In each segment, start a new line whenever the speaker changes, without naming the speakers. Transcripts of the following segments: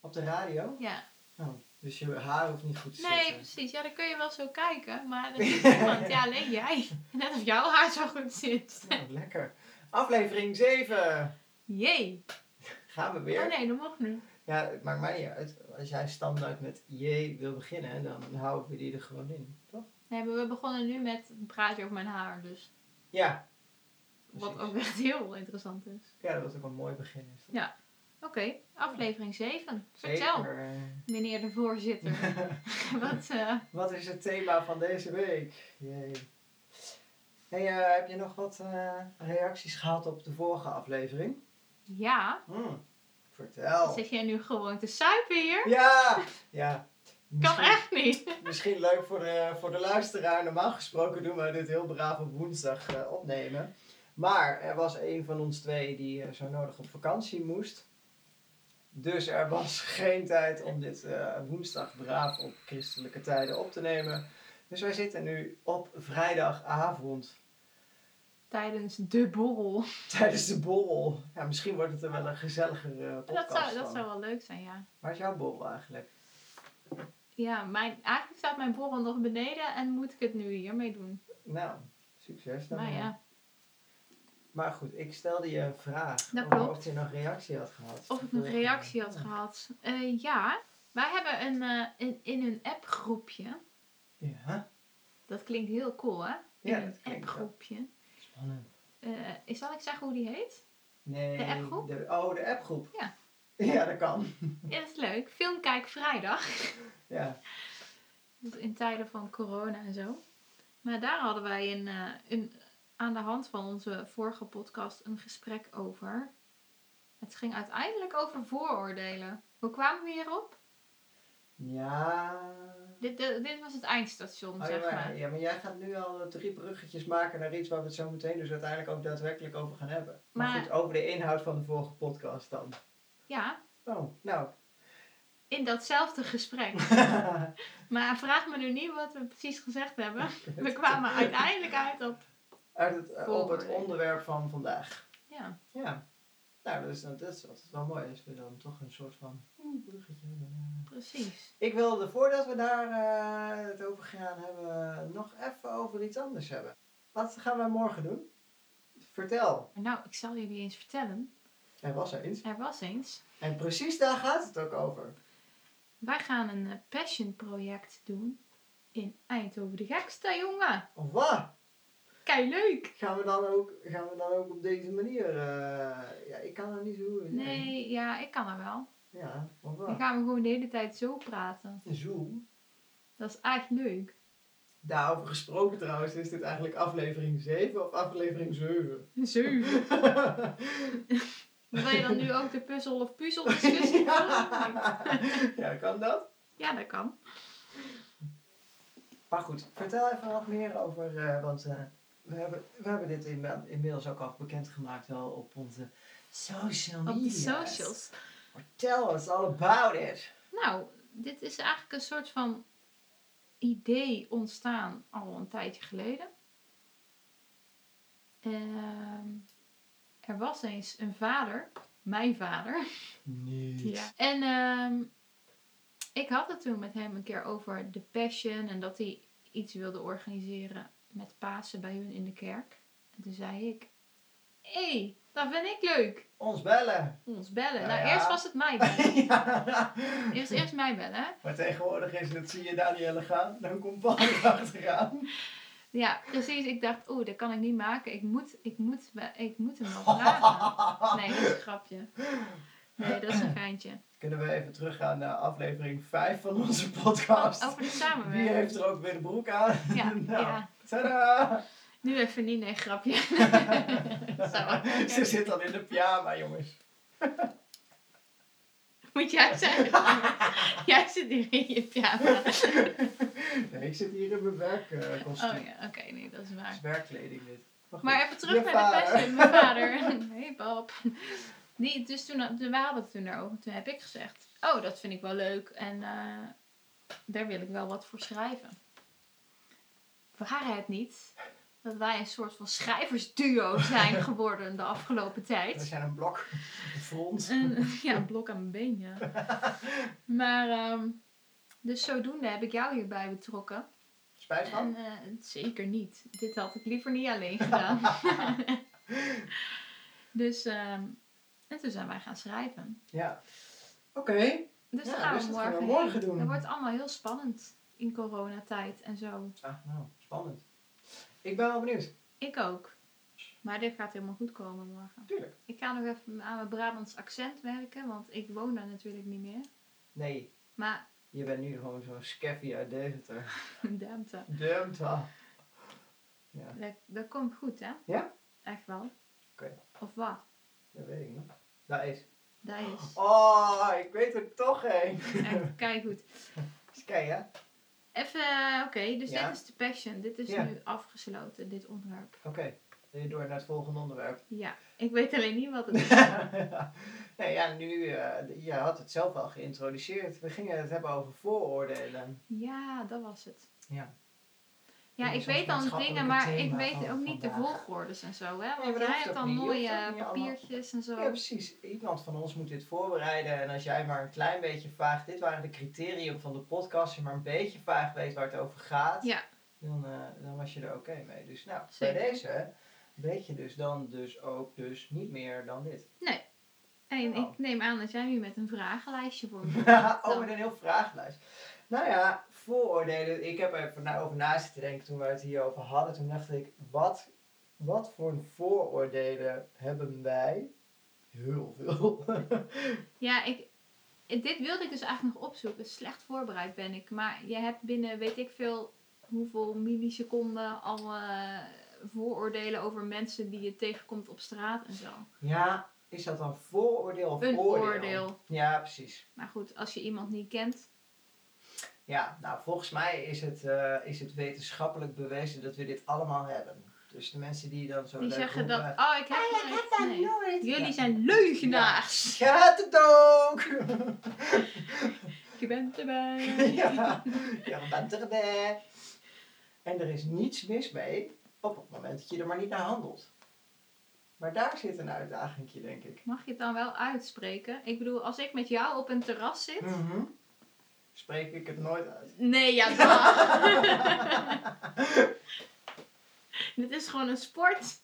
Op de radio?
Ja.
Oh, dus je haar hoeft niet goed te
Nee,
zitten.
precies. Ja, dan kun je wel zo kijken, maar er is niemand. Ja, alleen jij. Net of jouw haar zo goed zit.
Nou, lekker. Aflevering 7.
Jee.
Gaan we weer.
Oh nee, dat mag nu.
Ja, het maakt mij niet uit. Als jij standaard met J wil beginnen, dan houden we die er gewoon in, toch?
Nee, maar we begonnen nu met een praatje over mijn haar, dus.
Ja.
Wat
precies.
ook echt heel interessant is.
Ja, dat was ook een mooi begin. Is dat?
Ja, Oké, aflevering 7. Vertel,
Zeker. eh,
meneer de voorzitter. Wat, eh,
Wat is het thema van deze week? Jee. Hey, eh, heb je nog wat eh, reacties gehad op de vorige aflevering?
ja,
Hm, Vertel.
zit jij nu gewoon te suipen hier?
Ja! Ja.
Kan
Misschien-
echt niet.
Misschien leuk voor de, voor de luisteraar. Normaal gesproken doen we dit heel braaf op woensdag eh, opnemen. Maar er was een van ons twee die eh, zo nodig op vakantie moest. Dus er was geen tijd om dit eh, woensdag braaf op christelijke tijden op te nemen. Dus wij zitten nu op vrijdagavond
Tijdens de borrel.
tijdens de borrel. Ja, misschien wordt het er wel een gezelligere podcast
Dat zou, dat
van.
zou wel leuk zijn, ja.
Waar is jouw borrel eigenlijk?
Ja, mijn, eigenlijk staat mijn borrel nog beneden en moet ik het nu hiermee doen.
Nou, succes dan.
maar
maar.
Nou ja,
Maar goed, ik stelde je een vraag
Dat
over
klopt.
of je nog reactie had gehad.
of ik nog reactie had
Ja.
gehad. Eh, ja, wij hebben een, eh, een- in een appgroepje.
Ja,
Dat klinkt heel cool, hè? In
Ja, dat
een
klinkt wel.
appgroepje.
spannend.
Eh, zal ik zeggen hoe die heet?
Nee.
De appgroep?
de- oh, de appgroep.
Ja.
Ja, dat kan.
Ja, dat is leuk. Filmkijk vrijdag.
Ja.
Want In tijden van corona en zo. Maar daar hadden wij een, eh, een, aan de hand van onze vorige podcast een gesprek over. Het ging uiteindelijk over vooroordelen. Hoe kwamen we hierop?
Ja.
Dit, dit, dit was het eindstation,
Oh, ja,
zeg
maar,
maar.
ja, maar jij gaat nu al eh, drie bruggetjes maken naar iets waar we het zo meteen dus uiteindelijk ook daadwerkelijk over gaan hebben. Maar,
Maar-
goed, over de inhoud van de vorige podcast dan.
Ja,
Oh, nou.
in datzelfde gesprek. maar vraag me nu niet wat we precies gezegd hebben. We kwamen uiteindelijk uit op...
Uit het, eh, op het
Vooroordelen.
onderwerp van vandaag.
Ja,
Ja. Nou, dat is, dat is altijd wel mooi als we dan toch een soort van oeh, bruggetje hebben. Ja.
precies.
Ik wilde voordat we daar eh, het over gaan hebben, nog even over iets anders hebben. Wat gaan wij morgen doen? Vertel.
Nou, ik zal jullie eens vertellen.
Er was er iets.
Er was eens.
En precies daar gaat het ook over.
Wij gaan een eh, passion project doen in Eindhoven de Gekste, jongen.
Of wat?
Kei leuk.
Gaan we dan ook, gaan we dan ook op deze manier? eh, ja, ik kan er niet zo goed in.
Nee, ja, ik kan er wel.
Ja, of
Dan
wat?
gaan we gewoon de hele tijd zo praten.
Zoom.
Dat is echt leuk.
Daarover gesproken trouwens, is dit eigenlijk aflevering 7 of aflevering 7?
Zeven. Wil je dan nu ook de puzzel of puzzel discussie?
ja. ja, kan dat?
ja, dat kan.
Maar goed, vertel even wat meer over, eh, want eh, we, hebben, we hebben dit inma- inmiddels ook al bekendgemaakt wel op onze social media.
Op de socials.
Tell us all about it.
Nou, dit is eigenlijk een soort van idee ontstaan al een tijdje geleden. Ehm, er was eens een vader, mijn vader.
Niet.
En ehm, ik had het toen met hem een keer over de passion en dat hij iets wilde organiseren met Pasen bij hun in de kerk. En toen zei ik, hé, hey, dat vind ik leuk.
Ons bellen.
Ons bellen.
Nou
Nou,
ja.
eerst was het mij bellen.
Ja.
Eerst, eerst mij bellen, hè.
Maar tegenwoordig is het, zie je Danielle gaan, dan komt Paul achteraan.
Ja, precies. Ik dacht, oeh, dat kan ik niet maken. Ik moet, ik moet, we- ik moet hem nog vragen. Nee, dat is een grapje. Nee, dat is een geintje.
Kunnen we even teruggaan naar aflevering 5 van onze
Oh,
podcast?
over de
Wie
samenwerking.
heeft er ook weer de broek aan?
Ja,
nou,
ja.
Tadaa!
Nu even niet, nee, grapje. Zo.
Ze zit al in de pyjama, jongens.
Moet jij zeggen. Jij zit hier in je pyjama.
Nee, ik zit hier in mijn werkkostuum.
Oh ja, oké, nee, dat is
Het
waar.
is werkkleding dit. goed.
Maar even terug
Je
naar
vader.
de passion. Mijn vader. Hey, pap. Die, dus toen, toen we hadden het toen daarover. Toen heb ik gezegd, oh, dat vind ik wel leuk. En eh, daar wil ik wel wat voor schrijven. Waren het niet dat wij een soort van schrijversduo zijn geworden de afgelopen
We
tijd.
zijn een blok front.
En, ja, een blok aan mijn been, ja. Maar, ehm, dus zodoende heb ik jou hierbij betrokken.
Spijt van?
En, eh, zeker niet. Dit had ik liever niet alleen gedaan. dus, ehm, en toen zijn wij gaan schrijven.
Ja. Oké.
Dus
Ja,
dat gaan
dus
we
dat gaan we
morgen,
morgen
heen.
doen.
Dat wordt allemaal heel spannend in coronatijd en zo.
Ah, nou, spannend. Ik ben wel benieuwd.
Ik ook. Maar dit gaat helemaal goed komen morgen.
Tuurlijk.
Ik ga nog even aan mijn Brabants accent werken, want ik woon daar natuurlijk niet meer.
Nee,
Maar,
je bent nu gewoon zo'n scaffy uit Deventer.
damte,
Deventer.
dat, dat komt goed, hè?
Ja?
Echt wel.
Oké.
Of wat?
Dat weet ik niet. Daar is.
Dat is
Oh, ik weet er toch heen.
echt keigoed.
Dus kijk, hè.
Even, eh, oké, dus
Ja.
dit is de passion. Dit is
Ja.
nu afgesloten, dit onderwerp.
Oké, dan je door naar het volgende onderwerp.
Ja, ik weet alleen niet wat het is.
nee, ja, nu, eh, je had het zelf al geïntroduceerd. We gingen het hebben over vooroordelen.
ja, dat was het.
Ja. dus
Ja,
Dit
ik
is
weet
ons
dan
maatschappelijke
dingen, maar
thema
ik weet ook
van
niet de
vandaag.
volgordes en zo, hè?
maar
Want
dat
jij
hoeft
hebt
ook
dan
niet, je hoeft
mooie
ook niet allemaal-
papiertjes en zo.
Ja, precies. Iemand van ons moet dit voorbereiden. En als jij maar een klein beetje vaag... Dit waren de criteria van de podcast. Als je maar een beetje vaag weet waar het over gaat...
Ja.
Dan, eh, dan was je er oké mee. Dus nou,
Zeker.
bij deze weet je dus dan dus ook dus niet meer dan dit.
En
Oh.
ik neem aan dat jij nu met een vragenlijstje voor me
oh,
Dan-
met een heel vragenlijst. Nou ja, vooroordelen. Ik heb er even na- over na zitten denken toen we het hierover hadden. Toen dacht ik, wat, wat voor vooroordelen hebben wij? Heel veel.
Ja, ik, dit wilde ik dus eigenlijk nog opzoeken. Slecht voorbereid ben ik. Maar je hebt binnen weet ik veel hoeveel milliseconden al eh, vooroordelen over mensen die je tegenkomt op straat en zo.
ja, is dat dan vooroordeel of
Een
oordeel?
oordeel.
Ja, precies.
Maar goed, als je iemand niet kent.
Ja, nou volgens mij is het, eh, is het wetenschappelijk bewezen dat we dit allemaal hebben. Dus de mensen die dan zo
Die
leuk
zeggen dat.
roepen,
Oh, ik heb het
"Ik heb
niet."
dat
Nee.
nooit.
Jullie
Ja.
zijn leugenaars.
Je had het ook!
Je bent erbij.
ja, je bent erbij. En er is niets mis mee op het moment dat je er maar niet naar handelt. Maar daar zit een uitdaging, denk ik.
Mag je het dan wel uitspreken? Ik bedoel, als ik met jou op een terras zit.
Mhm. Spreek ik het nooit uit.
Nee, ja, dat. Dit is gewoon een sport.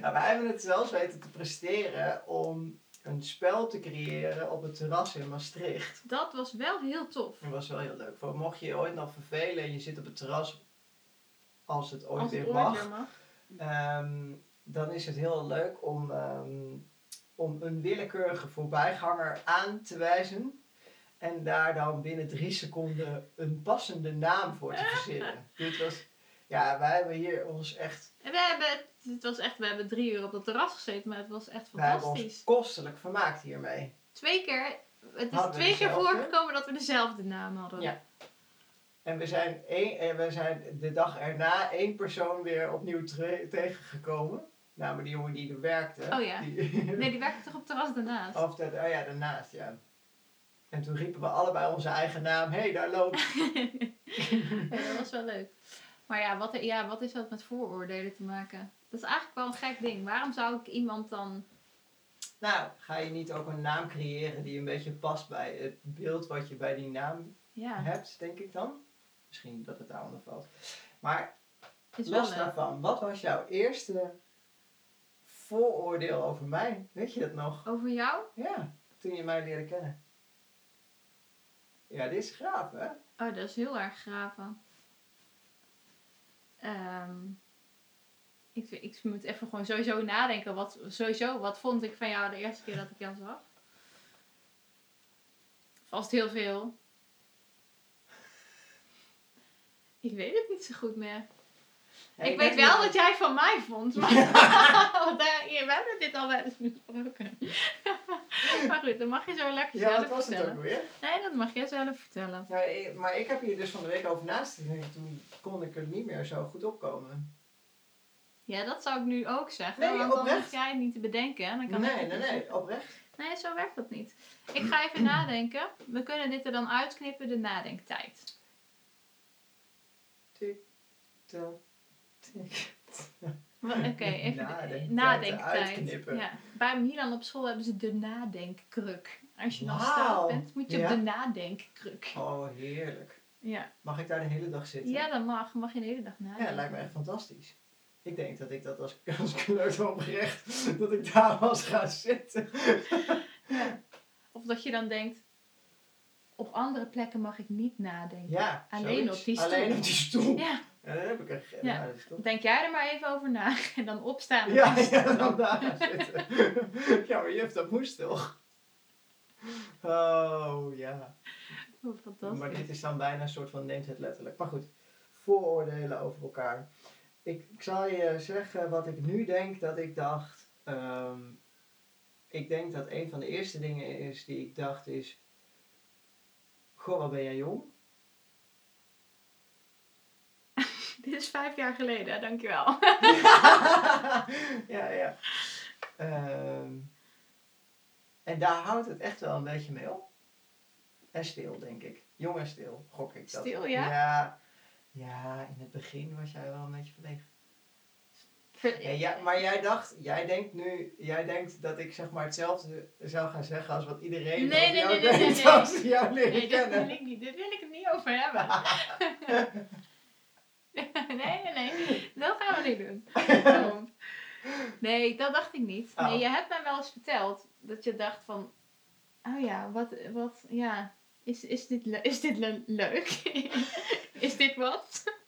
Nou, wij hebben het zelfs weten te presteren om een spel te creëren op het terras in Maastricht.
Dat was wel heel tof.
Dat was wel heel leuk. Voor mocht je je ooit nog vervelen en je zit op het terras, als het ooit
Als het
weer
ooit
mag,
weer mag.
Ehm, dan is het heel leuk om, ehm, om een willekeurige voorbijganger aan te wijzen. En daar dan binnen drie seconden een passende naam voor te verzinnen. Dit was, ja, wij hebben hier ons echt,
En we hebben, het- het was echt, we hebben drie uur op dat terras gezeten, maar het was echt
wij hebben ons
fantastisch.
kostelijk vermaakt hiermee.
Twee keer, het is
Hadden we
twee keer
dezelfde?
voorgekomen dat we dezelfde naam hadden.
Ja. En we zijn, één, en we zijn de dag erna één persoon weer opnieuw tre- tegengekomen. Namelijk die jongen die er werkte.
Oh ja.
Die-
Nee, die werkte toch op het terras daarnaast?
Of dat, oh ja, daarnaast, ja. En toen riepen we allebei onze eigen naam. Hé, hey, daar loopt.
Nee, dat was wel leuk. Maar ja wat, ja, wat is dat met vooroordelen te maken? Dat is eigenlijk wel een gek ding. Waarom zou ik iemand dan...
nou, ga je niet ook een naam creëren die een beetje past bij het beeld wat je bij die naam
Ja,
hebt, denk ik dan? Misschien dat het daaronder valt. Maar
is wel
los
leuk.
daarvan, wat was jouw eerste vooroordeel over mij? Weet je dat nog?
Over jou?
Ja, toen je mij leerde kennen. Ja, dit is graaf, hè?
Oh, dat is heel erg graven. Ehm, ik, vind- ik moet even gewoon sowieso nadenken. Wat, sowieso, wat vond ik van jou de eerste keer dat ik jou zag? Vast heel veel. Ik weet het niet zo goed meer.
Ja,
ik
denk
weet wel
dat-
wat jij van mij vond. Maar want eh, daar, we hebben dit al wel eens besproken. maar goed, dat mag je zo lekker
Ja,
zelf
wat was het
vertellen.
ook weer?
Nee, dat mag jij zelf vertellen.
Nou, ik- maar ik heb hier dus van de week over naast en toen kon ik er niet meer zo goed opkomen.
Ja, dat zou ik nu ook zeggen.
Nee,
want dan
oprecht.
hoef jij het niet te bedenken. En dan
Nee,
kan ik
nee,
het niet
nee,
zeggen.
oprecht.
Nee, zo werkt dat niet. Ik ga even nadenken. We kunnen dit er dan uitknippen, de nadenktijd.
Tik, vertel.
Wa- Oké, even
Nadenktijd
de- nadenktijd.
uitknippen.
Ja. Bij Milan op school hebben ze de nadenkkruk. Als je dan
Wauw.
stout bent, moet je
Ja.
op de nadenkkruk.
Oh, heerlijk.
Ja.
Mag ik daar de hele dag zitten?
ja, dan mag, mag je de hele dag nadenken.
Ja, lijkt me echt fantastisch. Ik denk dat ik dat als, als kleuter oprecht, dat ik daar was gaan zitten.
Ja. Of dat je dan denkt, op andere plekken mag ik niet nadenken.
Ja,
Alleen
zoiets.
op die stoel.
Alleen op die stoel. Ja,
Ja,
daar heb ik echt geen
Ja.
ja. dat is toch-
denk jij er maar even over na en dan opstaan. en
Ja,
dan-
ja, dan daar gaan zitten. ja, maar juf, dat moest toch? Oh, ja.
Oh, fantastisch.
Maar dit is dan bijna een soort van neemt het letterlijk. Maar goed, vooroordelen over elkaar. Ik, ik zal je zeggen wat ik nu denk dat ik dacht. Ehm, ik denk dat een van de eerste dingen is die ik dacht is... Goh, wat ben jij jong?
Dit is vijf jaar geleden, dankjewel.
ja, ja. Ehm, en daar houdt het echt wel een beetje mee op. En stil, denk ik. Jong en stil, gok ik dat.
Stil, ja?
Ja, ja, in het begin was jij wel een beetje verlegen.
Ver-
Ja, ja, maar jij dacht, jij denkt nu, jij denkt dat ik zeg maar hetzelfde zou gaan zeggen als wat iedereen
Nee,
over
nee,
jou
nee, nee,
denkt
nee, nee.
als ze jou leren
Nee, dit wil
kennen.
ik niet. Dit wil ik het niet over hebben. nee, nee, nee. Dat gaan we niet doen. Kom. Nee, dat dacht ik niet. Nee,
Oh.
je hebt mij wel eens verteld dat je dacht van... Oh ja, wat... wat ja, is, is dit, le- is dit le- leuk? is dit wat?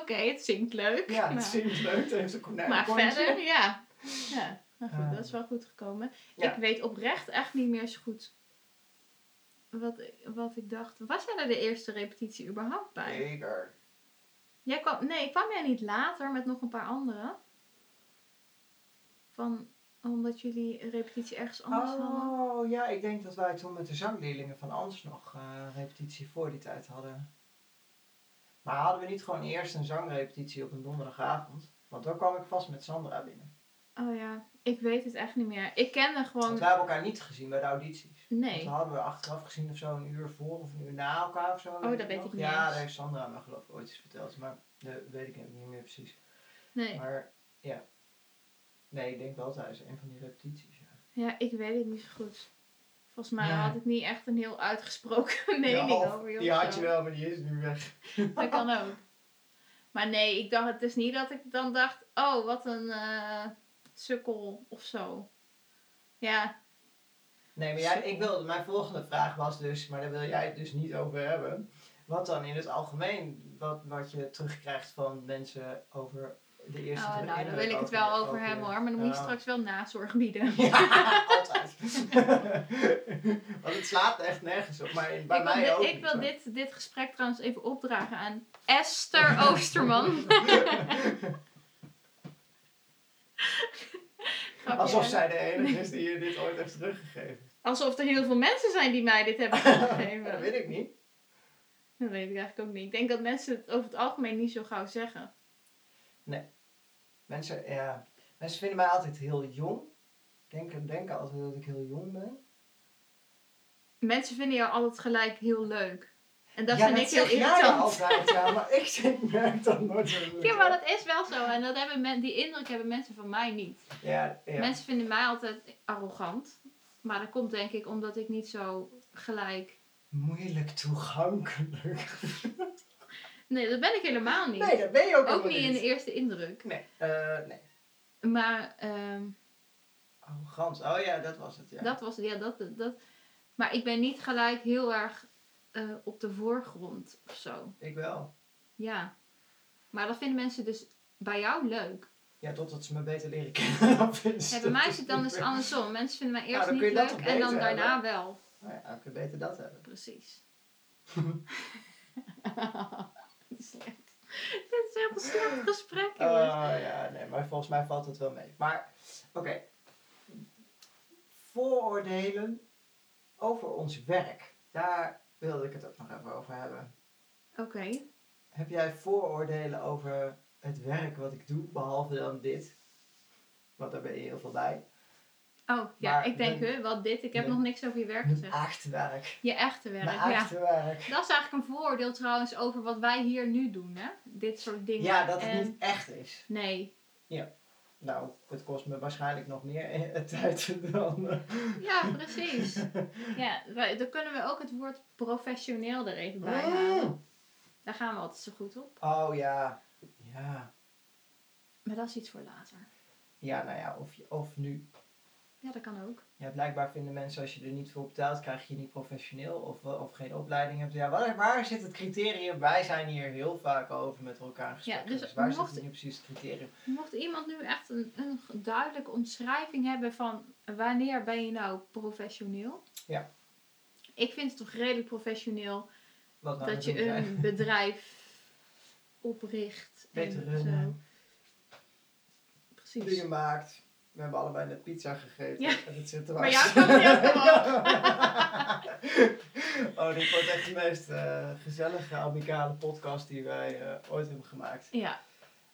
Oké, het zingt leuk.
Ja,
Nou,
het zingt leuk, het heeft een konijn.
maar
kontje.
verder, ja. ja. Maar goed,
Ah.
dat is wel goed gekomen.
Ja.
Ik weet oprecht echt niet meer zo goed wat, wat ik dacht. Was jij er de eerste repetitie überhaupt bij?
Zeker.
Jij kwam, nee, kwam jij niet later met nog een paar anderen? Van, omdat jullie een repetitie ergens anders hadden?
Oh ja, ik denk dat wij toen met de zangleerlingen van Ans nog eh, repetitie voor die tijd hadden. Maar hadden we niet gewoon eerst een zangrepetitie op een donderdagavond? Want dan kwam ik vast met Sandra binnen.
Oh ja, ik weet het echt niet meer. Ik kende
Want
gewoon...
wij hebben elkaar niet gezien bij de audities.
Nee.
Want we hadden we achteraf gezien of zo, een uur voor of een uur na elkaar of zo.
Oh, dat
ik
weet
nog.
ik niet
Ja,
eens.
daar heeft Sandra me geloof ik ooit eens verteld. Maar dat weet ik niet meer precies.
Nee.
Maar ja. Nee, ik denk wel tijdens een van die repetities. Ja.
Ja, ik weet het niet zo goed. Volgens mij
Nee.
had ik niet echt een heel uitgesproken mening
Die half-
over je.
Die
of
had
zo.
je wel, maar die is nu weg.
Dat kan ook. Maar nee, ik dacht, het is niet dat ik dan dacht, oh, wat een eh, sukkel of zo. Ja,
Nee, maar jij, ik wilde, mijn volgende vraag was dus, maar daar wil jij het dus niet over hebben. Wat dan in het algemeen, wat, wat je terugkrijgt van mensen over de eerste
oh,
drie
nou, daar
indruk
wil ik het
over-
wel over hebben hoor, maar dan moet je
Ja.
straks wel nazorg bieden.
Ja, altijd. Want het slaat echt nergens op, maar in- bij
ik wil,
mij
dit,
ook
ik
niet,
wil
hoor.
dit, dit gesprek trouwens even opdragen aan Esther Oosterman. Grapje,
Alsof
hè?
zij de enige is die je dit ooit heeft teruggegeven.
Alsof er heel veel mensen zijn die mij dit hebben gegeven.
dat weet ik niet.
Dat weet ik eigenlijk ook niet. Ik denk dat mensen het over het algemeen niet zo gauw zeggen.
Mensen, ja, mensen vinden mij altijd heel jong. Denken, denken altijd dat ik heel jong ben.
Mensen vinden jou altijd gelijk heel leuk. En dat
ja,
vind ik heel
zeg jij nou
irritant.
altijd, ja, maar ik denk, merk dat nooit zo goed.
Ja, maar dat is wel zo. En dat hebben men, die indruk hebben mensen van mij niet.
Ja, ja.
Mensen vinden mij altijd arrogant. Maar dat komt denk ik omdat ik niet zo gelijk...
Moeilijk toegankelijk.
Nee, dat ben ik helemaal niet.
Nee, dat ben je ook,
ook
helemaal
niet in de eerste indruk.
Nee, eh, nee.
Maar ehm,
Arrogant. Oh ja, dat was het, ja.
dat was... Ja, dat, dat, dat- Maar ik ben niet gelijk heel erg eh, op de voorgrond of zo.
Ik wel.
Ja. Maar dat vinden mensen dus bij jou leuk.
Ja, totdat ze me beter leren kennen. dan vinden ze
Ja, bij
dat
mij
ik
is het dan
niet
dus
ben.
andersom. Mensen vinden mij
Ja,
eerst
dan kun
niet
je dat
leuk
toch
en dan
beter
daarna wel.
Nou ja, ik kan beter dat hebben.
Precies. Dit is slecht. Dit is echt een slecht gesprek,
Oh
jongens.
ja, nee, maar volgens mij valt het wel mee. Maar, oké. Vooroordelen over ons werk. Daar wilde ik het ook nog even over hebben.
Oké.
Heb jij vooroordelen over het werk wat ik doe, behalve dan dit? Want daar ben je heel veel bij.
Oh, ja,
Maar
ik denk,
mijn-
huh, wat dit? Ik heb
mijn-
nog niks over je werk
Mijn
gezegd.
echt werk.
Je echte werk,
Mijn
ja.
echte werk.
Dat is eigenlijk een vooroordeel trouwens over wat wij hier nu doen, hè? Dit soort dingen.
Ja, dat het
En-
niet echt is.
Nee.
Nou, het kost me waarschijnlijk nog meer eh, tijd dan... eh,
Ja, precies. ja, wij- dan kunnen we ook het woord professioneel er even bij halen.
Mm.
Daar gaan we altijd zo goed op.
Oh ja. Ja.
Maar dat is iets voor later.
Ja, nou ja, of, je- of nu.
Ja, dat kan ook.
Ja, blijkbaar vinden mensen als je er niet voor betaalt, krijg je niet professioneel of, wel- of geen opleiding hebt. Ja, waar, waar zit het criterium? Wij zijn hier heel vaak over met elkaar in gesprek.
Ja,
dus,
dus
waar
mocht-
zit nu precies het criterium?
Mocht iemand nu echt een, een duidelijke omschrijving hebben van wanneer ben je nou professioneel?
Ja.
Ik vind het toch redelijk professioneel
Wat nou we aan
dat
het
je
doen zijn.
een bedrijf opricht.
Beter
en zo.
runnen.
Precies.
dingen maakt. We hebben allebei net pizza gegeten.
Ja.
En het zit er
Maar jou kan het niet
Oh, dit wordt echt de meest eh, gezellige, amicale podcast die wij eh, ooit hebben gemaakt.
Ja.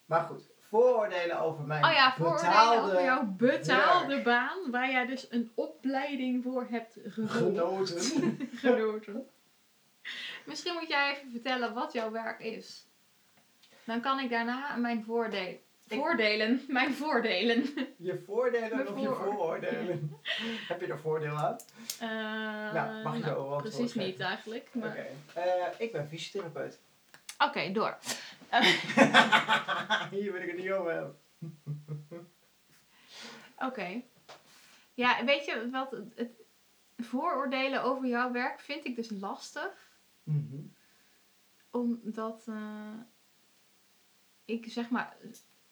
Maar goed, vooroordelen over mijn
Oh ja, vooroordelen
betaalde
over jouw betaalde baan, waar jij dus een opleiding voor hebt geno-
genoten.
genoten. Misschien moet jij even vertellen wat jouw werk is. Dan kan ik daarna mijn voordelen. Voordelen, mijn voordelen.
Je voordelen
Mijn
of je
voor-
vooroordelen. Heb je er voordeel aan?
Eh,
nou, mag
nou,
je zo wel antwoord
Precies
geven.
niet eigenlijk.
Oké,
maar- Oké,
eh, ik ben fysiotherapeut.
door. Eh,
Hier wil ik het niet over hebben.
Oké. Ja, weet je wat? het- Het vooroordelen over jouw werk vind ik dus lastig.
Mhm.
Omdat eh, ik zeg maar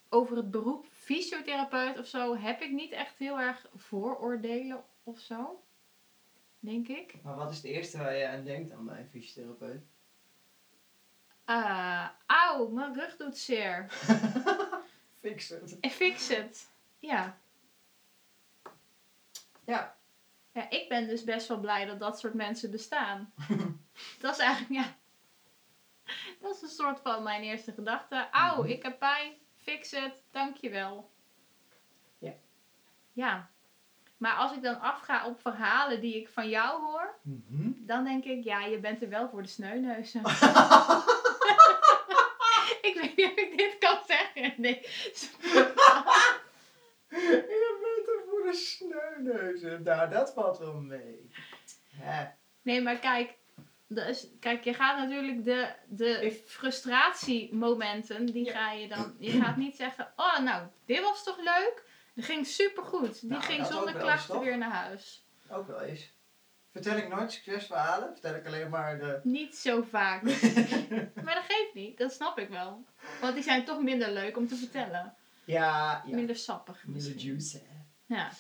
over het beroep fysiotherapeut of zo heb ik niet echt heel erg vooroordelen of zo. Denk ik.
Maar wat is het eerste waar je aan denkt aan mijn fysiotherapeut?
Eh auw, mijn rug doet zeer.
Fix het.
En fix het. Ja.
Ja.
ja. Ik ben dus best wel blij dat dat soort mensen bestaan. dat is eigenlijk, ja. Dat is een soort van mijn eerste gedachte. Auw,
Mhm.
ik heb pijn. Fix het. Dankjewel.
Ja.
Ja. Maar als ik dan afga op verhalen die ik van jou hoor,
Mhm.
dan denk ik, ja, je bent er wel voor de sneuneuzen. ik weet niet of ik dit kan zeggen. Nee.
Je bent er voor de sneuneuzen. Nou, dat valt wel mee. Hè?
Nee, maar kijk. dat is- kijk, je gaat natuurlijk de, de
Ik-
frustratiemomenten, die
Ja.
ga je dan... Je gaat niet zeggen, oh nou, dit was toch leuk? Die ging supergoed. Die
Nou,
ging
dat ook
zonder
wel eens,
klachten
toch?
weer naar huis.
Ook wel eens. Vertel ik nooit succesverhalen? Vertel ik alleen maar de...
Niet zo vaak. maar dat geeft niet, dat snap ik wel. Want die zijn toch minder leuk om te vertellen.
Ja, ja.
Minder sappig misschien.
juice, hè?
Ja.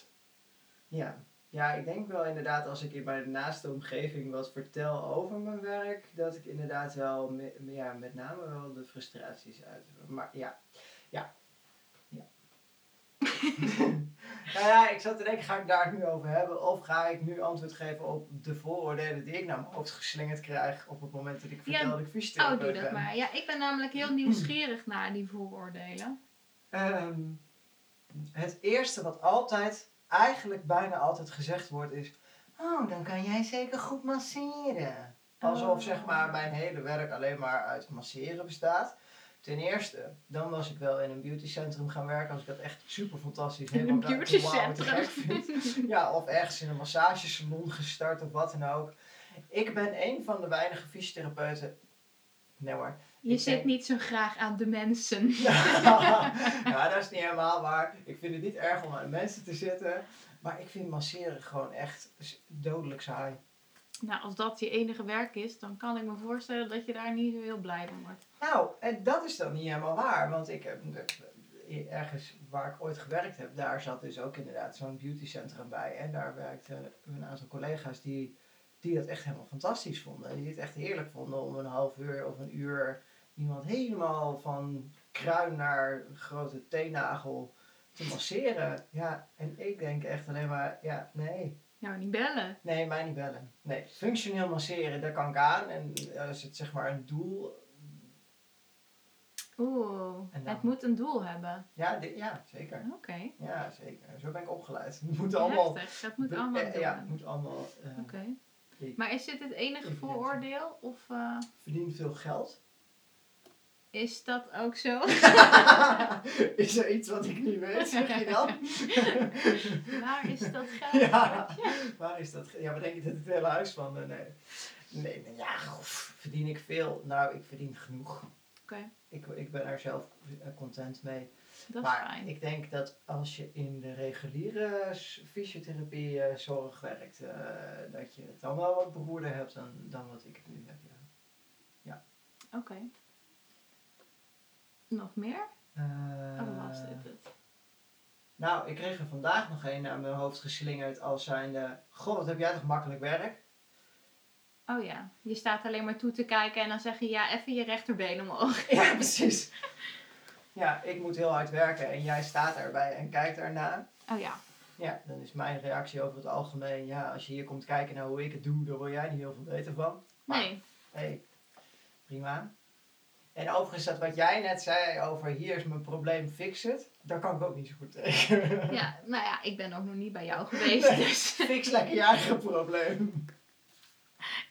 Ja. ja, ik denk wel inderdaad als ik in mijn naaste omgeving wat vertel over mijn werk, dat ik inderdaad wel me- ja, met name wel de frustraties uit. Maar ja, ja. ja. nou ja, ik zat te denken, ga ik daar het nu over hebben of ga ik nu antwoord geven op de vooroordelen die ik naar mijn hoofd geslingerd krijg op het moment dat ik
Ja,
vertel dat ik
Oh,
fysiotherapeut
doe dat
ben?
maar. Ja, ik ben namelijk heel nieuwsgierig naar die vooroordelen.
Ehm, het eerste wat altijd, eigenlijk bijna altijd gezegd wordt is... Oh, dan kan jij zeker goed masseren. Alsof
Oh.
zeg maar mijn hele werk alleen maar uit masseren bestaat. Ten eerste, dan was ik wel in een beautycentrum gaan werken als ik dat echt super fantastisch
In een
helemaal te- wauw, te
beautycentrum.
gek vind. Ja, of ergens in een massagesalon gestart of wat dan ook. Ik ben een van de weinige fysiotherapeuten. Nee hoor,
Je
Ik
zit
denk-
niet zo graag aan de mensen.
ja, ja, dat is niet helemaal waar. Ik vind het niet erg om aan mensen te zitten. Maar ik vind masseren gewoon echt s- dodelijk saai.
Nou, als dat je enige werk is, dan kan ik me voorstellen dat je daar niet zo heel blij van wordt.
Nou, en dat is dan niet helemaal waar. Want ik heb eh, ergens waar ik ooit gewerkt heb, daar zat dus ook inderdaad zo'n beautycentrum bij. En daar werkten een aantal collega's die, die dat echt helemaal fantastisch vonden. Die het echt heerlijk vonden om een half uur of een uur iemand helemaal van kruin naar grote teennagel te masseren. Ja, en ik denk echt alleen maar, ja, nee.
Nou, niet bellen.
Nee, mij niet bellen. Nee, functioneel masseren, daar kan ik aan. En als het zeg maar een doel
Oeh,
En dan-
het moet een doel hebben.
Ja, dit- ja zeker.
Oké.
Ja, zeker. Zo ben ik opgeleid. Het moet allemaal...
Heftig. Dat moet allemaal
Eh,
doen.
Ja, het moet allemaal... eh,
Oké.
je
Maar is dit het enige
Ik-
vooroordeel? Of eh,
verdient veel geld.
is dat ook zo?
Is er iets wat ik niet weet, zeg je dan?
Waar is dat geld?
Ja. Waar is dat? ge- Ja, wat denk je dat het hele huis van? eh, Nee. Nee, nou ja, gof, verdien ik veel? Nou, ik verdien genoeg.
Oké.
Ik, ik ben daar zelf eh, content mee.
Dat is
maar
fijn.
ik denk dat als je in de reguliere fysiotherapiezorg werkt, eh, dat je het dan wel wat beroerder hebt dan, dan wat ik het nu heb. Ja.
Oké. Nog meer?
Eh,
Oh, was dit het?
Nou, ik kreeg er vandaag nog een naar mijn hoofd geslingerd als zijnde... Goh, wat heb jij toch makkelijk werk?
Oh ja, je staat alleen maar toe te kijken en dan zeg je ja, even je rechterbeen omhoog.
Ja, precies. Ja, ik moet heel hard werken en jij staat daarbij en kijkt daarna.
Oh ja,
Ja, dan is mijn reactie over het algemeen... Ja, als je hier komt kijken naar hoe ik het doe, dan word jij niet heel veel beter van. Maar-
nee.
Hé, hey, prima. En overigens, dat wat jij net zei over hier is mijn probleem, fix het. Daar kan ik ook niet zo goed tegen.
Ja, nou ja, ik ben ook nog niet bij jou geweest.
Nee.
Dus.
Fix lekker je eigen probleem.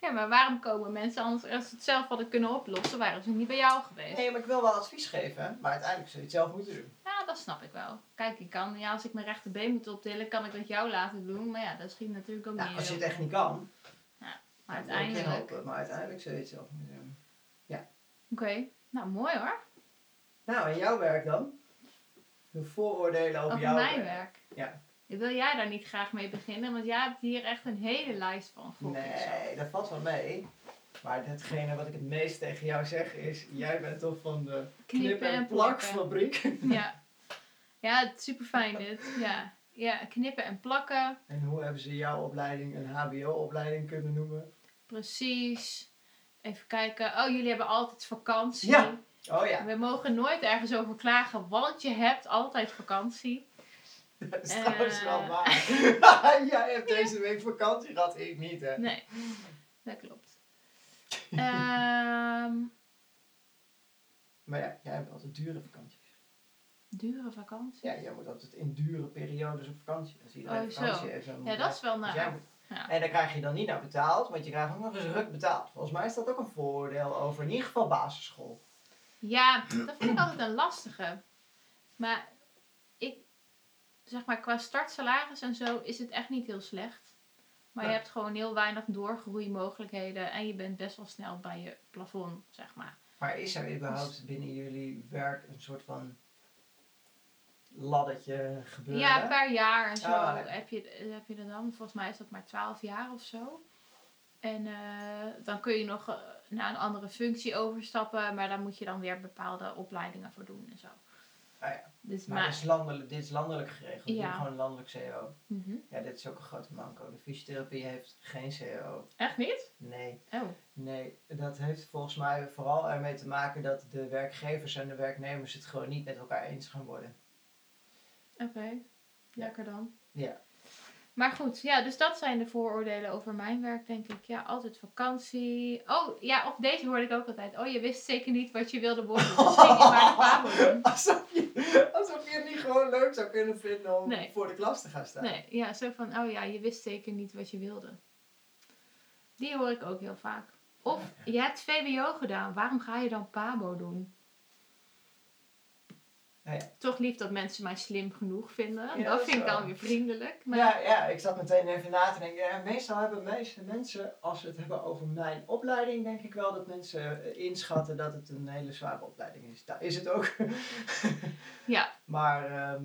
Ja, maar waarom komen mensen anders, als ze het zelf hadden kunnen oplossen, waren ze niet bij jou geweest?
Nee, maar ik wil wel advies geven, maar uiteindelijk zul je het zelf moeten doen.
Ja, dat snap ik wel. Kijk, ik kan, ja, als ik mijn rechterbeen moet optillen, kan ik dat jou laten doen. Maar ja, dat schiet natuurlijk ook
Ja,
niet
Nou, als je
heel
het echt
veel.
niet kan,
Maar
dan wil ik je
uiteindelijk. Oké,
helpen, maar uiteindelijk zul je het zelf moeten doen.
nou mooi hoor.
Nou, en jouw werk dan? De vooroordelen over,
Over
jouw
mijn
werk.
werk.
eh, Ja.
Wil jij daar niet graag mee beginnen? Want jij hebt hier echt een hele lijst van. gok ik zo.
Nee, dat valt wel mee. Maar datgene wat ik het meest tegen jou zeg is, jij bent toch van de knip-
plakken.
en plakfabriek.
Ja. Ja, het is super fijn dit. Ja. ja, knippen en plakken.
En hoe hebben ze jouw opleiding een HBO-opleiding kunnen noemen?
Precies. Even kijken. Oh, jullie hebben altijd vakantie.
Ja. Oh ja,
We mogen nooit ergens over klagen, want je hebt altijd vakantie.
dat is
Eh.
trouwens wel waar. Jij hebt deze week vakantie gehad, ik niet hè.
Nee, dat klopt. Ehm,
Maar ja, jij hebt altijd dure vakanties.
dure vakantie.
Ja, jij moet altijd in dure periodes op vakantie. Als iedereen
Oh, zo.
vakantie heeft. dan
Ja, dat is wel
dus jij
naar.
moet-
Ja.
En daar krijg je dan niet naar betaald, want je krijgt ook nog eens ruk betaald. Volgens mij is dat ook een voordeel over in ieder geval basisschool.
Ja, dat vind ik altijd een lastige. Maar ik, zeg maar, qua startsalaris en zo is het echt niet heel slecht. Maar je
Nee.
hebt gewoon heel weinig doorgroeimogelijkheden en je bent best wel snel bij je plafond, zeg maar.
Maar is er überhaupt binnen jullie werk een soort van laddertje gebeuren?
Ja, per jaar en zo
Oh, nee.
heb, je, heb je er dan. Volgens mij is dat maar 12 jaar of zo. En eh, dan kun je nog eh, naar een andere functie overstappen, maar daar moet je dan weer bepaalde opleidingen voor doen en zo.
Ah, ja.
Dus
Maar,
maar,
dit is landelijk, dit is landelijk geregeld. Je
Ja.
hebt gewoon landelijk CO.
Mhm.
Ja, dit is ook een grote manco. De fysiotherapie heeft geen CO.
Echt niet?
Nee,
Oh.
nee. Dat heeft volgens mij vooral ermee te maken dat de werkgevers en de werknemers het gewoon niet met elkaar eens gaan worden.
Oké, lekker dan.
Ja.
Maar goed, ja, dus dat zijn de vooroordelen over mijn werk, denk ik. Ja, altijd vakantie. Oh, ja, of deze hoorde ik ook altijd. Oh, je wist zeker niet wat je wilde worden, dus ging je maar de Pabo doen.
Alsof je, alsof je het niet gewoon leuk zou kunnen vinden om
Nee.
voor de klas te gaan staan.
Nee, ja, zo van, oh ja, je wist zeker niet wat je wilde. Die hoor ik ook heel vaak. Of, je hebt VWO gedaan, waarom ga je dan PABO doen?
Nou ja.
Toch lief dat mensen mij slim genoeg vinden.
Ja,
dat
dat
vind ik
wel.
dan weer vriendelijk. Maar
Ja, ja, ik zat meteen even na te denken. Ja, meestal hebben meeste mensen, als we het hebben over mijn opleiding, denk ik wel dat mensen eh, inschatten dat het een hele zware opleiding is. Daar is het ook.
Ja.
Maar ehm,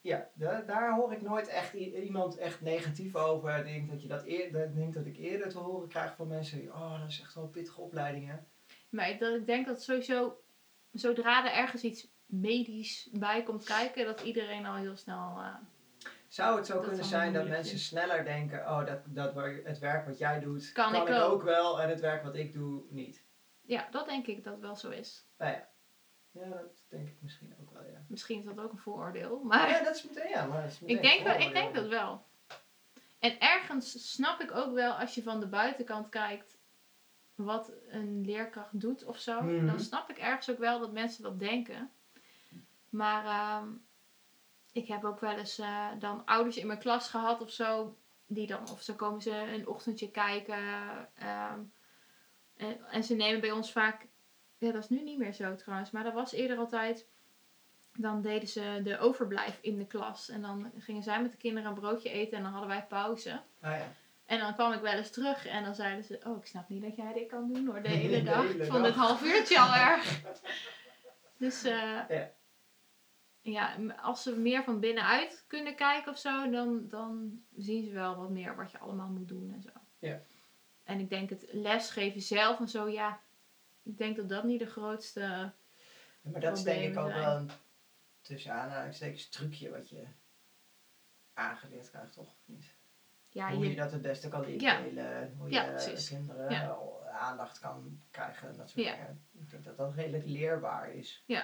ja, da- daar hoor ik nooit echt i- iemand echt negatief over. Ik denk dat, je dat, eer, dat, ik denk dat ik eerder te horen krijg van mensen, oh dat is echt wel een pittige opleiding hè.
Maar dat ik denk dat sowieso, zodra er ergens iets medisch bij komt kijken, dat iedereen al heel snel. eh,
Zou het zo
Dat
kunnen
is
zijn
allemaal
dat
moeilijk,
mensen sneller denken, oh dat, dat waar- het werk wat jij doet,
Kan ik ook.
ook wel en het werk wat ik doe niet.
ja, dat denk ik dat wel zo is.
Nou ja. Ja, dat denk ik misschien ook wel, ja.
Misschien is dat ook een vooroordeel, maar
Ja, dat is meteen, ja. Maar dat is meteen
Ah.
eh,
ik, denk dat,
vooroordeel.
ik denk dat wel. En ergens snap ik ook wel als je van de buitenkant kijkt. wat een leerkracht doet of zo,
Mhm.
dan snap ik ergens ook wel dat mensen dat denken. Maar ehm, ik heb ook wel eens eh, dan ouders in mijn klas gehad of zo, die dan, of ze komen ze een ochtendje kijken. ehm, en, en ze nemen bij ons vaak, ja, dat is nu niet meer zo trouwens, maar dat was eerder altijd. Dan deden ze de overblijf in de klas. En dan gingen zij met de kinderen een broodje eten en dan hadden wij pauze.
Ah ja.
En dan kwam ik wel eens terug en dan zeiden ze: Oh, ik snap niet dat jij dit kan doen hoor, de hele
De
dag.
hele
ik vond het
dag.
half uurtje al erg. Dus eh,
Ja.
ja, m- als ze meer van binnenuit kunnen kijken of zo, dan, dan zien ze wel wat meer wat je allemaal moet doen en zo.
Ja.
En ik denk het lesgeven zelf en zo, ja, ik denk dat dat niet de grootste.
Ja, Maar dat is denk ik ook
Problemen
wel een tussen aanhalingstekens trucje wat je aangeleerd krijgt, toch? Of niet?
Ja,
hoe je,
je-
dat het beste kan
Ja.
indelen, hoe
Ja,
je
precies.
kinderen
Ja.
al aandacht kan krijgen, dat soort
Ja.
dingen. Ik denk dat dat redelijk leerbaar is.
Ja.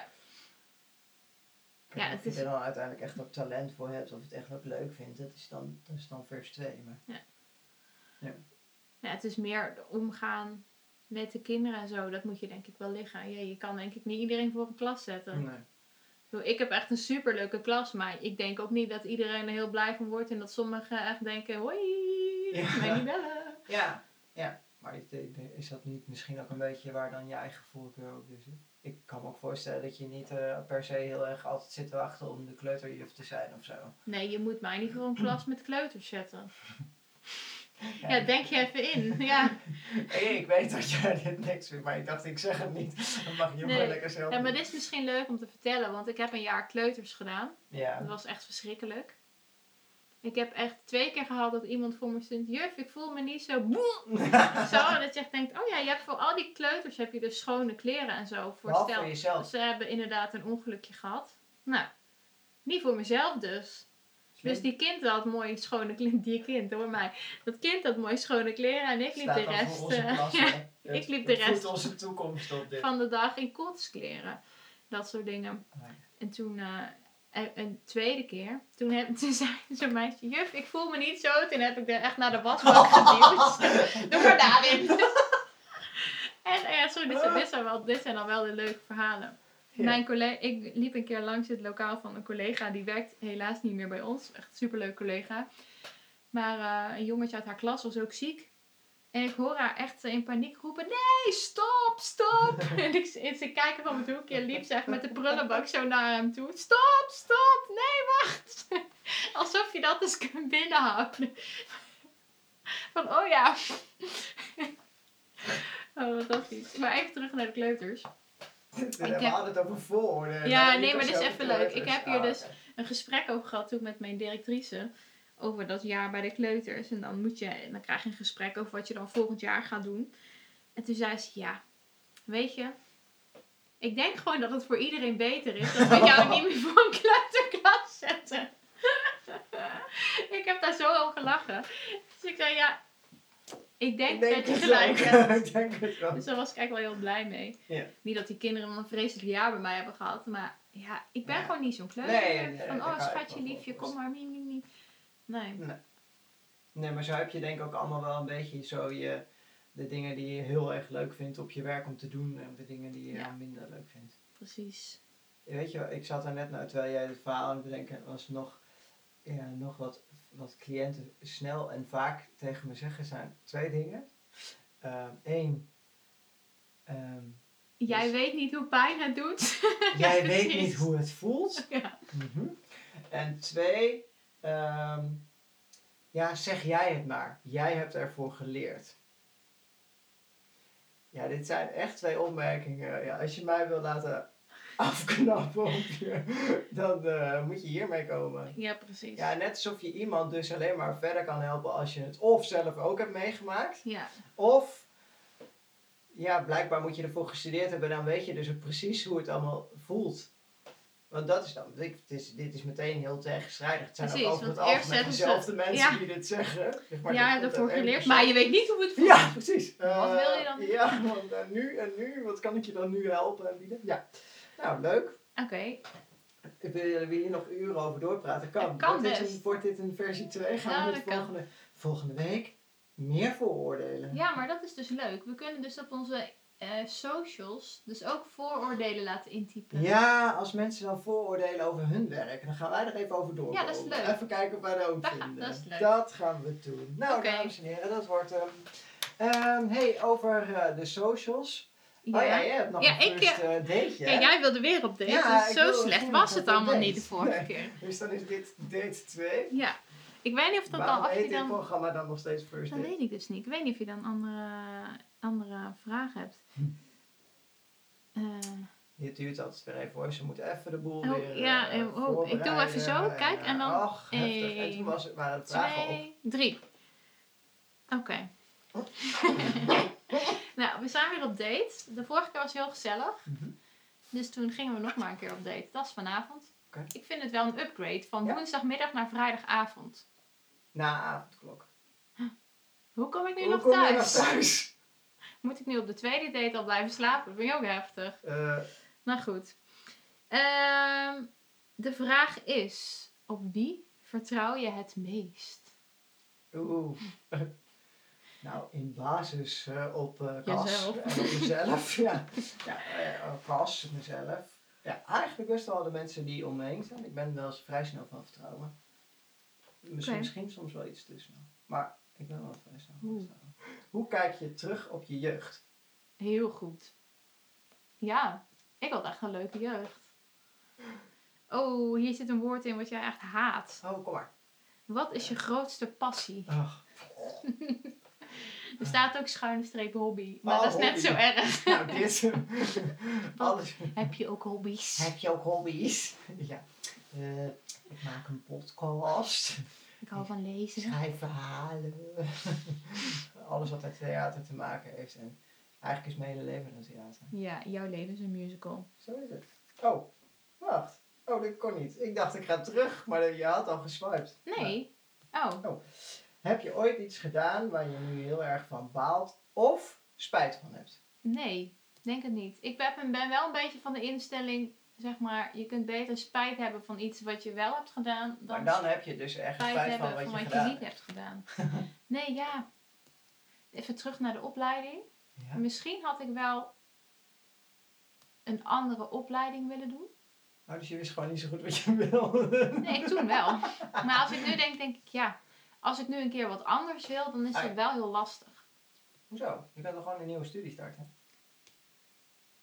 Ik weet
Ja,
niet
het
of je
is-
er dan uiteindelijk echt ook talent voor hebt of het echt ook leuk vindt, dat is dan, dat is dan vers 2. Maar...
ja, het is meer omgaan met de kinderen en zo, dat moet je denk ik wel liggen. Ja, je kan denk ik niet iedereen voor een klas zetten.
Nee.
Ik bedoel, Ik heb echt een superleuke klas, maar ik denk ook niet dat iedereen er heel blij van wordt en dat sommigen echt denken: hoi,
Ja.
mij niet bellen.
Ja, ja. Maar is- is dat niet misschien ook een beetje waar dan je eigen voorkeur ook weer zit? Ik kan me ook voorstellen dat je niet eh, per se heel erg altijd zit te wachten om de kleuterjuf te zijn of zo.
Nee, je moet mij niet voor een klas met kleuters zetten.
Ja.
Ja, denk je even in. Ja,
Hey, ik weet dat jij dit niks vindt, maar ik dacht ik zeg het niet. Dan mag je hem
Nee.
wel lekker zelf
ja maar
doen.
dit is misschien leuk om te vertellen, want ik heb een jaar kleuters gedaan.
Ja.
Dat was echt verschrikkelijk. Ik heb echt twee keer gehad dat iemand voor me stond: Juf, ik voel me niet zo boe. Zo, en dat je echt denkt: Oh ja, je hebt voor al die kleuters heb je dus schone kleren en zo. Voor
Behalve
stel-
voor jezelf.
Ze hebben inderdaad een ongelukje gehad. Nou, niet voor mezelf dus. Dus die kind had mooie schone kleren. Die kind hoor mij. Dat kind had mooie schone kleren en ik liep
Staat
de
dan
rest
voor onze
eh,
klasse.
ja,
Het-
ik liep
het
de rest.
voedt onze toekomst op dit.
van de dag in kotskleren. Dat soort dingen.
Ah, ja.
En toen, eh, een- een tweede keer, toen, heb, toen zei zo'n meisje: Juf, ik voel me niet zo. Toen heb ik er echt naar de wasbak geduwd. Doe maar daarin. en eh, ja, sorry, dit zijn, dit, zijn wel, dit zijn dan wel de leuke verhalen.
Ja.
Mijn collega, ik liep een keer langs het lokaal van een collega. Die werkt helaas niet meer bij ons. Echt een superleuk collega. Maar eh, een jongetje uit haar klas was ook ziek. En ik hoor haar echt in paniek roepen. Nee, stop, stop. en ik, en ze kijken van mijn hoekje. En liep ze echt met de prullenbak zo naar hem toe. Stop, stop. Nee, wacht. Alsof je dat eens kunt binnenhouden. Van, oh ja. Oh, wat fantastisch. Maar even terug naar de kleuters.
We
ik
hebben
heb-
altijd over vooroordelen.
Ja,
Niet
nee, maar
per
dit is
se
even
over
leuk. Ik heb hier
kleuters.
dus- Een gesprek over gehad toen met mijn directrice. Over dat jaar bij de kleuters. En dan, moet je, en dan krijg je een gesprek over wat je dan volgend jaar gaat doen. En toen zei ze, ja, weet je... Ik denk gewoon dat het voor iedereen beter is dat we jou niet meer voor een kleuterklas zetten. ik heb daar zo om gelachen. Dus ik zei, ja, ik denk,
Ik denk
dat je
het
gelijk
wel.
hebt.
Ik denk het wel.
Dus daar was ik eigenlijk wel heel blij mee.
Ja.
Niet dat die kinderen dan een vreselijk jaar bij mij hebben gehad. Maar ja, ik ben
Ja.
gewoon niet zo'n kleuter.
Nee, nee,
van,
dat kan
oh
ik me
schatje, liefje,
voorstellen.
kom maar, mie, mie, mie. Nee.
Nee, maar zo heb je denk ik ook allemaal wel een beetje zo je, de dingen die je heel erg leuk vindt op je werk om te doen en de dingen die je
Ja.
minder leuk vindt.
Precies.
Weet je, wel, ik zat daar net nou, terwijl jij het verhaal aan het bedenken was, nog, ja, nog wat, wat cliënten snel en vaak tegen me zeggen zijn twee dingen. Ehm, Eén,
Jij
Dus-
weet niet hoe pijn het doet.
jij weet
precies.
niet hoe het voelt.
ja.
Mhm. En twee, ehm, ja, zeg jij het maar. Jij hebt ervoor geleerd. Ja, dit zijn echt twee opmerkingen. Ja, als je mij wil laten afknappen, op je, dan eh, moet je hiermee komen.
ja, precies.
Ja, net alsof je iemand dus alleen maar verder kan helpen als je het of zelf ook hebt meegemaakt.
Ja.
Of, ja, blijkbaar moet je ervoor gestudeerd hebben, dan weet je dus ook precies hoe het allemaal voelt. Want dat is dan, ik- het is, dit is meteen heel tegenstrijdig. Het zijn
Precies,
ook over het
want eerst zeggen
algemeen
ze-
dezelfde mensen
ja.
die dit zeggen. Zeg maar,
Jij
dit
hebt
komt
ervoor
uit één
geleerd,
persoon.
maar je weet niet hoe het voelt.
Ja, precies.
Wat wil je dan?
Eh, Ja, want eh, nu en nu, wat kan ik je dan nu helpen en bieden? Ja, nou leuk.
Oké,
Willen we hier nog uren over doorpraten? Kan.
Het kan
wordt, dit
best.
een, wordt dit een versie 2? Gaan
Ja,
we het
dat kan.
volgende, volgende week meer vooroordelen.
Ja, maar dat is dus leuk. We kunnen dus op onze eh, socials dus ook vooroordelen laten intypen.
Ja, als mensen dan vooroordelen over hun werk, dan gaan wij er even over door.
Ja, dat is leuk.
Even kijken of wij dat ook
Ja,
vinden.
dat is leuk.
Dat gaan we doen. Nou,
Oké.
dames en heren, dat wordt hem. Ehm, hey, over eh, de socials.
Ja.
Oh ja, jij hebt nog
Ja,
een
ik,
first eh, dateje.
Ja, jij wilde weer op date,
Ja,
dus
ik
zo
wil- ik
slecht
wil
was
nog
het
op
allemaal
date.
niet de vorige
Nee.
keer.
Dus dan is dit date 2.
Ja, ik weet niet of dat
Waarom
dan... Of je
heet dit
dan
programma dan nog steeds first
dat
date?
weet ik dus niet. Ik weet niet of je dan andere, andere vragen hebt. Eh,
Dit duurt altijd weer even hoor. Ze moeten even de boel
Oh,
weer eh,
ja, eh, oh, ik doe even zo,
voorbereiden.
kijk, en dan
Och, heftig. En
één,
toen was het, waren het vragen op.
twee, drie. Oké. nou, we zijn weer op date. De vorige keer was heel gezellig.
Mhm.
Dus toen gingen we nog maar een keer op date. Dat is vanavond.
Oké.
Ik vind het wel een upgrade van
Ja.
woensdagmiddag naar vrijdagavond.
Na avondklok.
Hoe kom ik nu
Hoe
nog
kom je
thuis?
nog thuis?
Moet ik nu op de tweede date al blijven slapen? Dat vind ik ook heftig.
Eh,
Nou goed. Ehm, de vraag is: op wie vertrouw je het meest?
Oeh. Nou, in basis eh, op eh Cas
Jezelf.
en op mezelf. ja, ja eh, op Cas, mezelf. Ja, eigenlijk best wel de mensen die om me heen zijn. Ik ben wel eens vrij snel van vertrouwen. Misschien,
Oké.
misschien soms wel iets te snel. Maar ik ben wel vrij snel van
Oeh.
vertrouwen. Hoe kijk je terug op je jeugd?
Heel goed. Ja, ik had echt een leuke jeugd. Oh, hier zit een woord in wat jij echt haat.
Oh, kom maar.
Wat is je grootste passie?
Ach,
Er staat ook schuine streep hobby, maar
Oh,
dat is net
hobby.
zo erg.
nou dit. Alles.
Heb je ook hobby's?
Heb je ook hobby's? ja. Eh, ik maak een podcast.
Ik hou van lezen.
Schrijf verhalen. Alles wat met theater te maken heeft. En eigenlijk is mijn hele leven een theater.
Ja, jouw leven is een musical.
Zo is het. Oh, wacht. Oh, dit kon niet. Ik dacht ik ga terug, maar je had al geswiped. Nou,
Nee. Oh,
heb je ooit iets gedaan waar je nu heel erg van baalt of spijt van hebt?
nee. Denk het niet. Ik ben, ben wel een beetje van de instelling, zeg maar, je kunt beter spijt hebben van iets wat je wel hebt gedaan dan
maar dan heb je dus echt
spijt
spijt
hebben
van wat je
van wat je
gedaan
niet hebt gedaan. Nee, ja. Even terug naar de opleiding.
hebt. Ja.
Misschien had ik wel een andere opleiding willen doen.
Oh, dus je wist gewoon niet zo goed wat je wilde.
Nee, toen wel. Maar als ik nu denk, denk ik ja. Als ik nu een keer wat anders wil, dan is
Ah,
dat
ja.
wel heel lastig.
Hoezo? Je kan toch gewoon een nieuwe studie starten?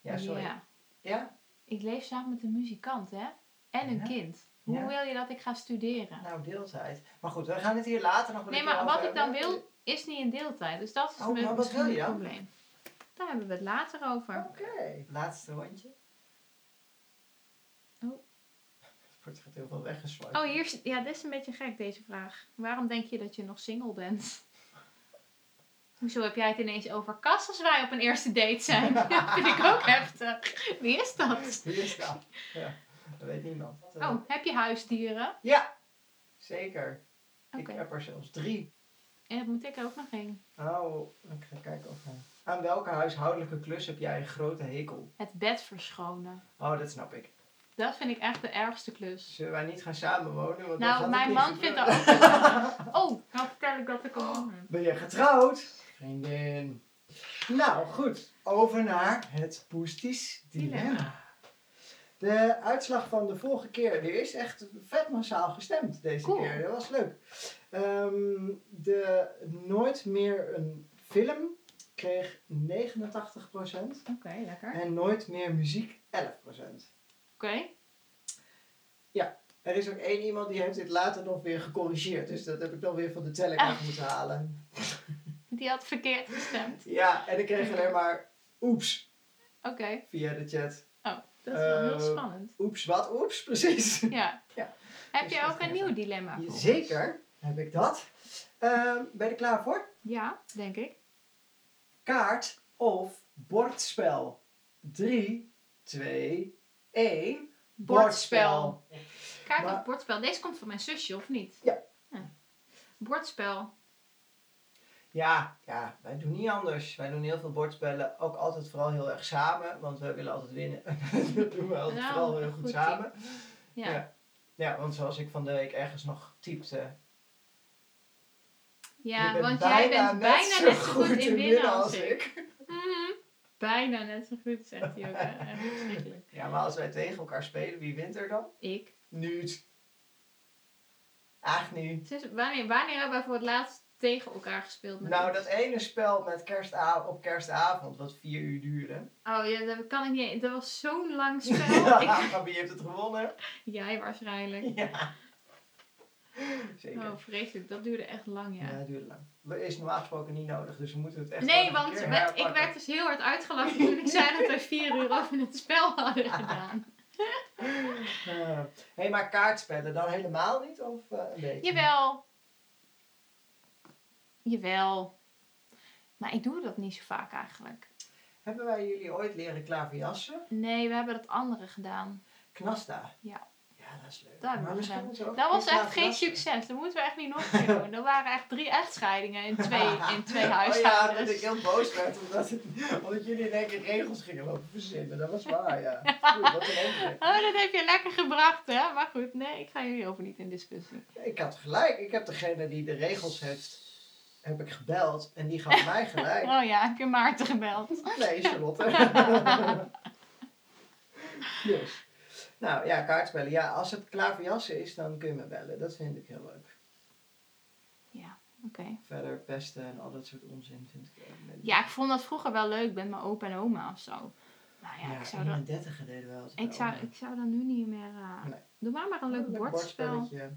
Ja, sorry. Ja?
Ja. Ik leef samen met een muzikant, hè? En een
Ja.
kind. Hoe
Ja.
wil je dat ik ga studeren?
Nou, deeltijd. Maar goed, we gaan het hier later nog wel
nee,
een keer
maar wat
over
ik dan
hebben.
wil, is niet in deeltijd. Dus dat is
Oh,
mijn-
maar wat
misschien
wil je
het
dan?
probleem. Daar hebben we het later over.
Oké. Laatste rondje.
Oh.
Er gaat heel veel weggeswipt.
Oh, hier, is- ja, dit is een beetje gek, deze vraag. Waarom denk je dat je nog single bent? Hoezo heb jij het ineens over Cas als wij op een eerste date zijn? Dat vind ik ook heftig. Wie is dat?
Wie is dat? Ja, dat weet niemand. Eh,
Oh, heb je huisdieren?
Ja, zeker.
Oké.
Ik heb er zelfs drie.
En dat moet ik ook nog heen.
Oh, ik ga kijken of... eh, Aan welke huishoudelijke klus heb jij een grote hekel?
Het bed verschonen.
Oh, dat snap ik.
Dat vind ik echt de ergste klus.
Zullen wij niet gaan samenwonen? Want dan gaat
Nou,
het
mijn
niet
man vindt
gebeuren.
dat ook heel erg. Oh, nou vertel ik dat ik al man heb.
Ben je getrouwd? Vriendin. Nou, goed. Over naar het poestisch dilemma. De uitslag van de vorige keer, die is echt vet massaal gestemd deze
Cool.
keer. Dat was leuk. Ehm, de Nooit meer een film kreeg 89%
Oké, lekker. Oké.
en Nooit meer muziek 11%. Er is ook één iemand die heeft dit later nog weer gecorrigeerd. Dus dat heb ik dan weer van de telling af moeten halen.
Die had verkeerd gestemd.
Ja, en ik kreeg alleen maar oeps
Oké.
via de chat.
Oh, dat is wel heel
Eh,
spannend.
Oeps, wat oeps, precies.
Ja.
Ja.
Heb
Dus
je
dat
ook
is
een nieuw dilemma? voor ons?
Zeker heb ik dat. Ehm, ben je er klaar voor?
Ja, denk ik.
Kaart of bordspel? 3, 2, 1. Bordspel.
Kaart
Maar-
of bordspel. Deze komt van mijn zusje, of niet? Ah.
Ja.
Bordspel.
Ja, ja, wij doen niet anders. Wij doen heel veel bordspellen. Ook altijd vooral heel erg samen, want wij willen altijd winnen. dat doen we altijd
Nou,
vooral heel
een
goed,
goed team.
samen.
Ja.
Ja. Ja, want zoals ik van de week ergens nog typte.
Ja,
Je bent
want jij bent bijna net zo goed in winnen als ik. Mhm. Bijna net zo goed, zegt hij ook. hè. Echt verschrikkelijk.
Ja, maar als wij tegen elkaar spelen, wie wint er dan?
Ik.
Nuut. Echt nu.
Sinds- wanneer, wanneer hebben wij voor het laatst tegen elkaar gespeeld? Met
Nou,
ons?
dat ene spel met kerstav op kerstavond, wat vier uur duurde.
Oh ja, dat kan ik niet. Dat was zo'n lang spel. Ik-
Ja, wie heeft het gewonnen?
jij waarschijnlijk.
Ja. Zeker.
Oh, vreselijk. Dat duurde echt lang,
Ja,
ja.
dat duurt lang. Dat is normaal gesproken niet nodig, dus we moeten het echt wel
nee,
een
want
keer
met- ik
herpakken.
werd dus heel hard uitgelachen toen ik zei dat we vier uur over het spel hadden gedaan.
Eh, hey, maar kaartspellen dan helemaal niet? Of eh, een beetje?
Jawel. Jawel. Maar ik doe dat niet zo vaak eigenlijk.
Hebben wij jullie ooit leren klaverjassen?
Nee, we hebben dat andere gedaan.
Knasta.
Ja.
Ja, dat is leuk.
Dat hebben we
misschien
gedaan.
moeten we ook
Dat was
een keer
echt geen
klaverjassen.
succes. Dat moeten we echt niet nog een keer doen. Dat waren echt drie echtscheidingen in twee, in twee
Oh ja, dat
huishoudens.
ik heel boos werd omdat, het, omdat jullie in één keer regels gingen lopen verzinnen. Dat was waar, ja. Oei, wat een ongeluk.
Oh, dat heb je lekker gebracht, hè? Maar goed, nee, ik ga jullie over niet in discussie.
Ik had gelijk. Ik heb degene die de regels heeft, heb ik gebeld. En die gaf mij gelijk.
Oh ja, heb je Maarten gebeld?
Nee, Charlotte. dus. Nou ja, kaartspellen. Ja, als het klaverjassen is, dan kun je me bellen. Dat vind ik heel leuk.
Ja, oké.
Verder pesten en al dat soort onzin vind ik. eh,
Ja, ik vond dat vroeger wel leuk met mijn opa en oma of zo. Maar ja, ik zou dat...
31 deden we altijd.
Ik
wel,
zou,
maar-
ik zou dat nu niet meer... eh,
Nee.
Doe maar maar een leuk bordspel.
bordspelletje.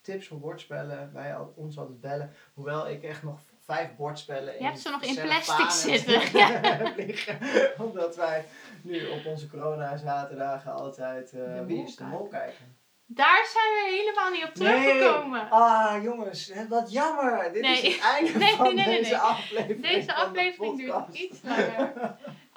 Tips voor bordspellen. Wij al, ons altijd bellen. Hoewel ik echt nog vijf bordspellen
Je hebt ze nog in
gezellig
plastic
vanen
zitten.
heb liggen. Omdat wij nu op onze corona-zaterdagen altijd eh,
De
Wie
Mol
is de
kijken.
Mol kijken.
Daar zijn we helemaal niet op
Nee.
teruggekomen.
Ah, jongens, hè, wat jammer. Dit is
Nee.
het einde
Nee,
van
nee, nee, nee,
deze
nee.
aflevering.
Deze
van de
aflevering duurt
podcast.
iets langer.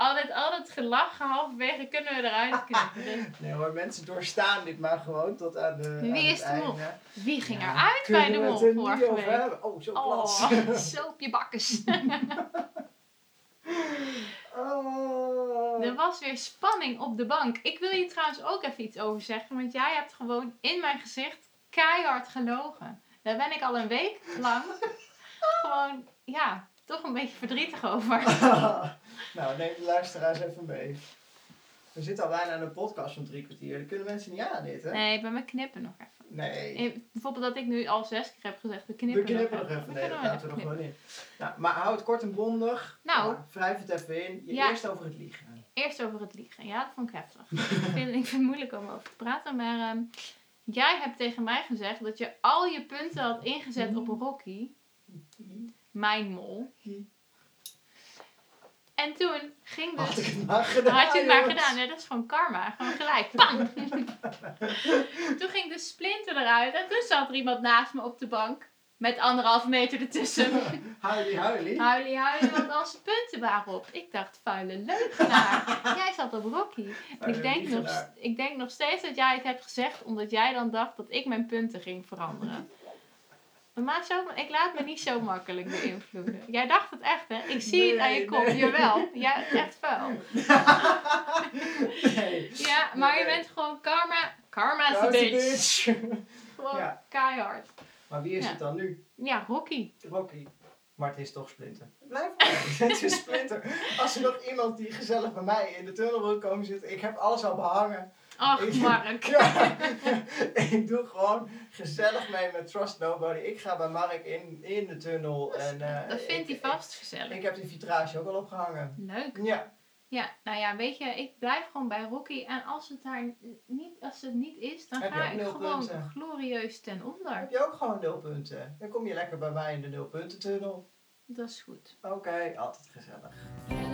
Al dat, al dat gelach halverwege kunnen we eruit knippen. Dus
Nee hoor, mensen doorstaan dit maar gewoon tot aan de. aan
Wie
het
is de mol?
einde.
wie ging
Ja,
eruit bij
kunnen
de
we
mol
het er niet
vorige
over
week?
hebben? Oh, zo
Oh,
plat.
zo op je bakkes.
Oh.
Er was weer spanning op de bank. Ik wil je trouwens ook even iets over zeggen, want jij hebt gewoon in mijn gezicht keihard gelogen. Daar ben ik al een week lang gewoon, ja, toch een beetje verdrietig over.
nou, neem de luisteraars even mee. We zitten al bijna aan een podcast van drie kwartier. Dat kunnen mensen niet aan dit, hè?
Nee, bij mijn knippen nog even.
Nee.
Eh, Bijvoorbeeld dat ik nu al zes keer heb gezegd, we knippen,
We knippen nog
We
even. Nee,
kunnen
dat
wel
laten we nog
even
gewoon in. Nou, maar hou het kort en bondig.
Nou.
Maar wrijf het even in. Je
Ja.
Eerst over het liegen.
Eerst over het liegen. Ja, dat vond ik heftig. ik, vind, ik vind het moeilijk om over te praten. Maar ehm, jij hebt tegen mij gezegd dat je al je punten had
Mm.
ingezet op Rocky, mijn mol.
Hm.
En toen ging dus...
Had ik het maar gedaan.
had je het maar
jongens.
gedaan. Hè? Dat is gewoon karma. Gewoon gelijk. Bang! toen ging de splinter eruit. En toen zat er iemand naast me op de bank. Met anderhalve meter ertussen.
Huilie, huilie.
Huilie, huilie, want al zijn punten waren op. Ik dacht, vuile leugenaar. Jij zat op Rocky. En
Vuile
ik denk, nog,
leugenaar.
ik denk nog steeds dat jij het hebt gezegd, omdat jij dan dacht dat ik mijn punten ging veranderen. Maar maak zo, ik laat me niet zo makkelijk beïnvloeden. Jij dacht het echt, hè? Ik zie het aan je
Nee,
kop.
nee.
Jawel, jij bent echt vuil.
Nee.
Ah. Ja, maar je
Nee.
bent gewoon karma. Karma's
Houdt
bitch.
die bitch.
Gewoon
Ja.
keihard.
Maar wie is
Ja.
het dan nu?
Ja, Rocky.
Rocky. Maar het is toch Splinter. Blijf maar. Het is Splinter. Als er nog iemand die gezellig bij mij in de tunnel wil komen zitten. Ik heb alles al behangen.
Ach,
Ik-
Mark.
Ja. ik doe gewoon gezellig mee met Trust Nobody. Ik ga bij Mark in, in de tunnel. En, eh,
Dat vindt
ik-
hij vast gezellig.
Ik, ik heb die vitrage ook al opgehangen.
Leuk.
Ja.
Ja, nou ja, weet je, ik blijf gewoon bij Rocky. En als het daar n- niet, als het niet is, dan
Heb je
ga
ook
ik
nul
gewoon
punten.
glorieus ten onder.
Heb je ook gewoon nulpunten? Dan kom je lekker bij mij in de nulpuntentunnel.
Dat is goed.
Oké, altijd gezellig.
Ja.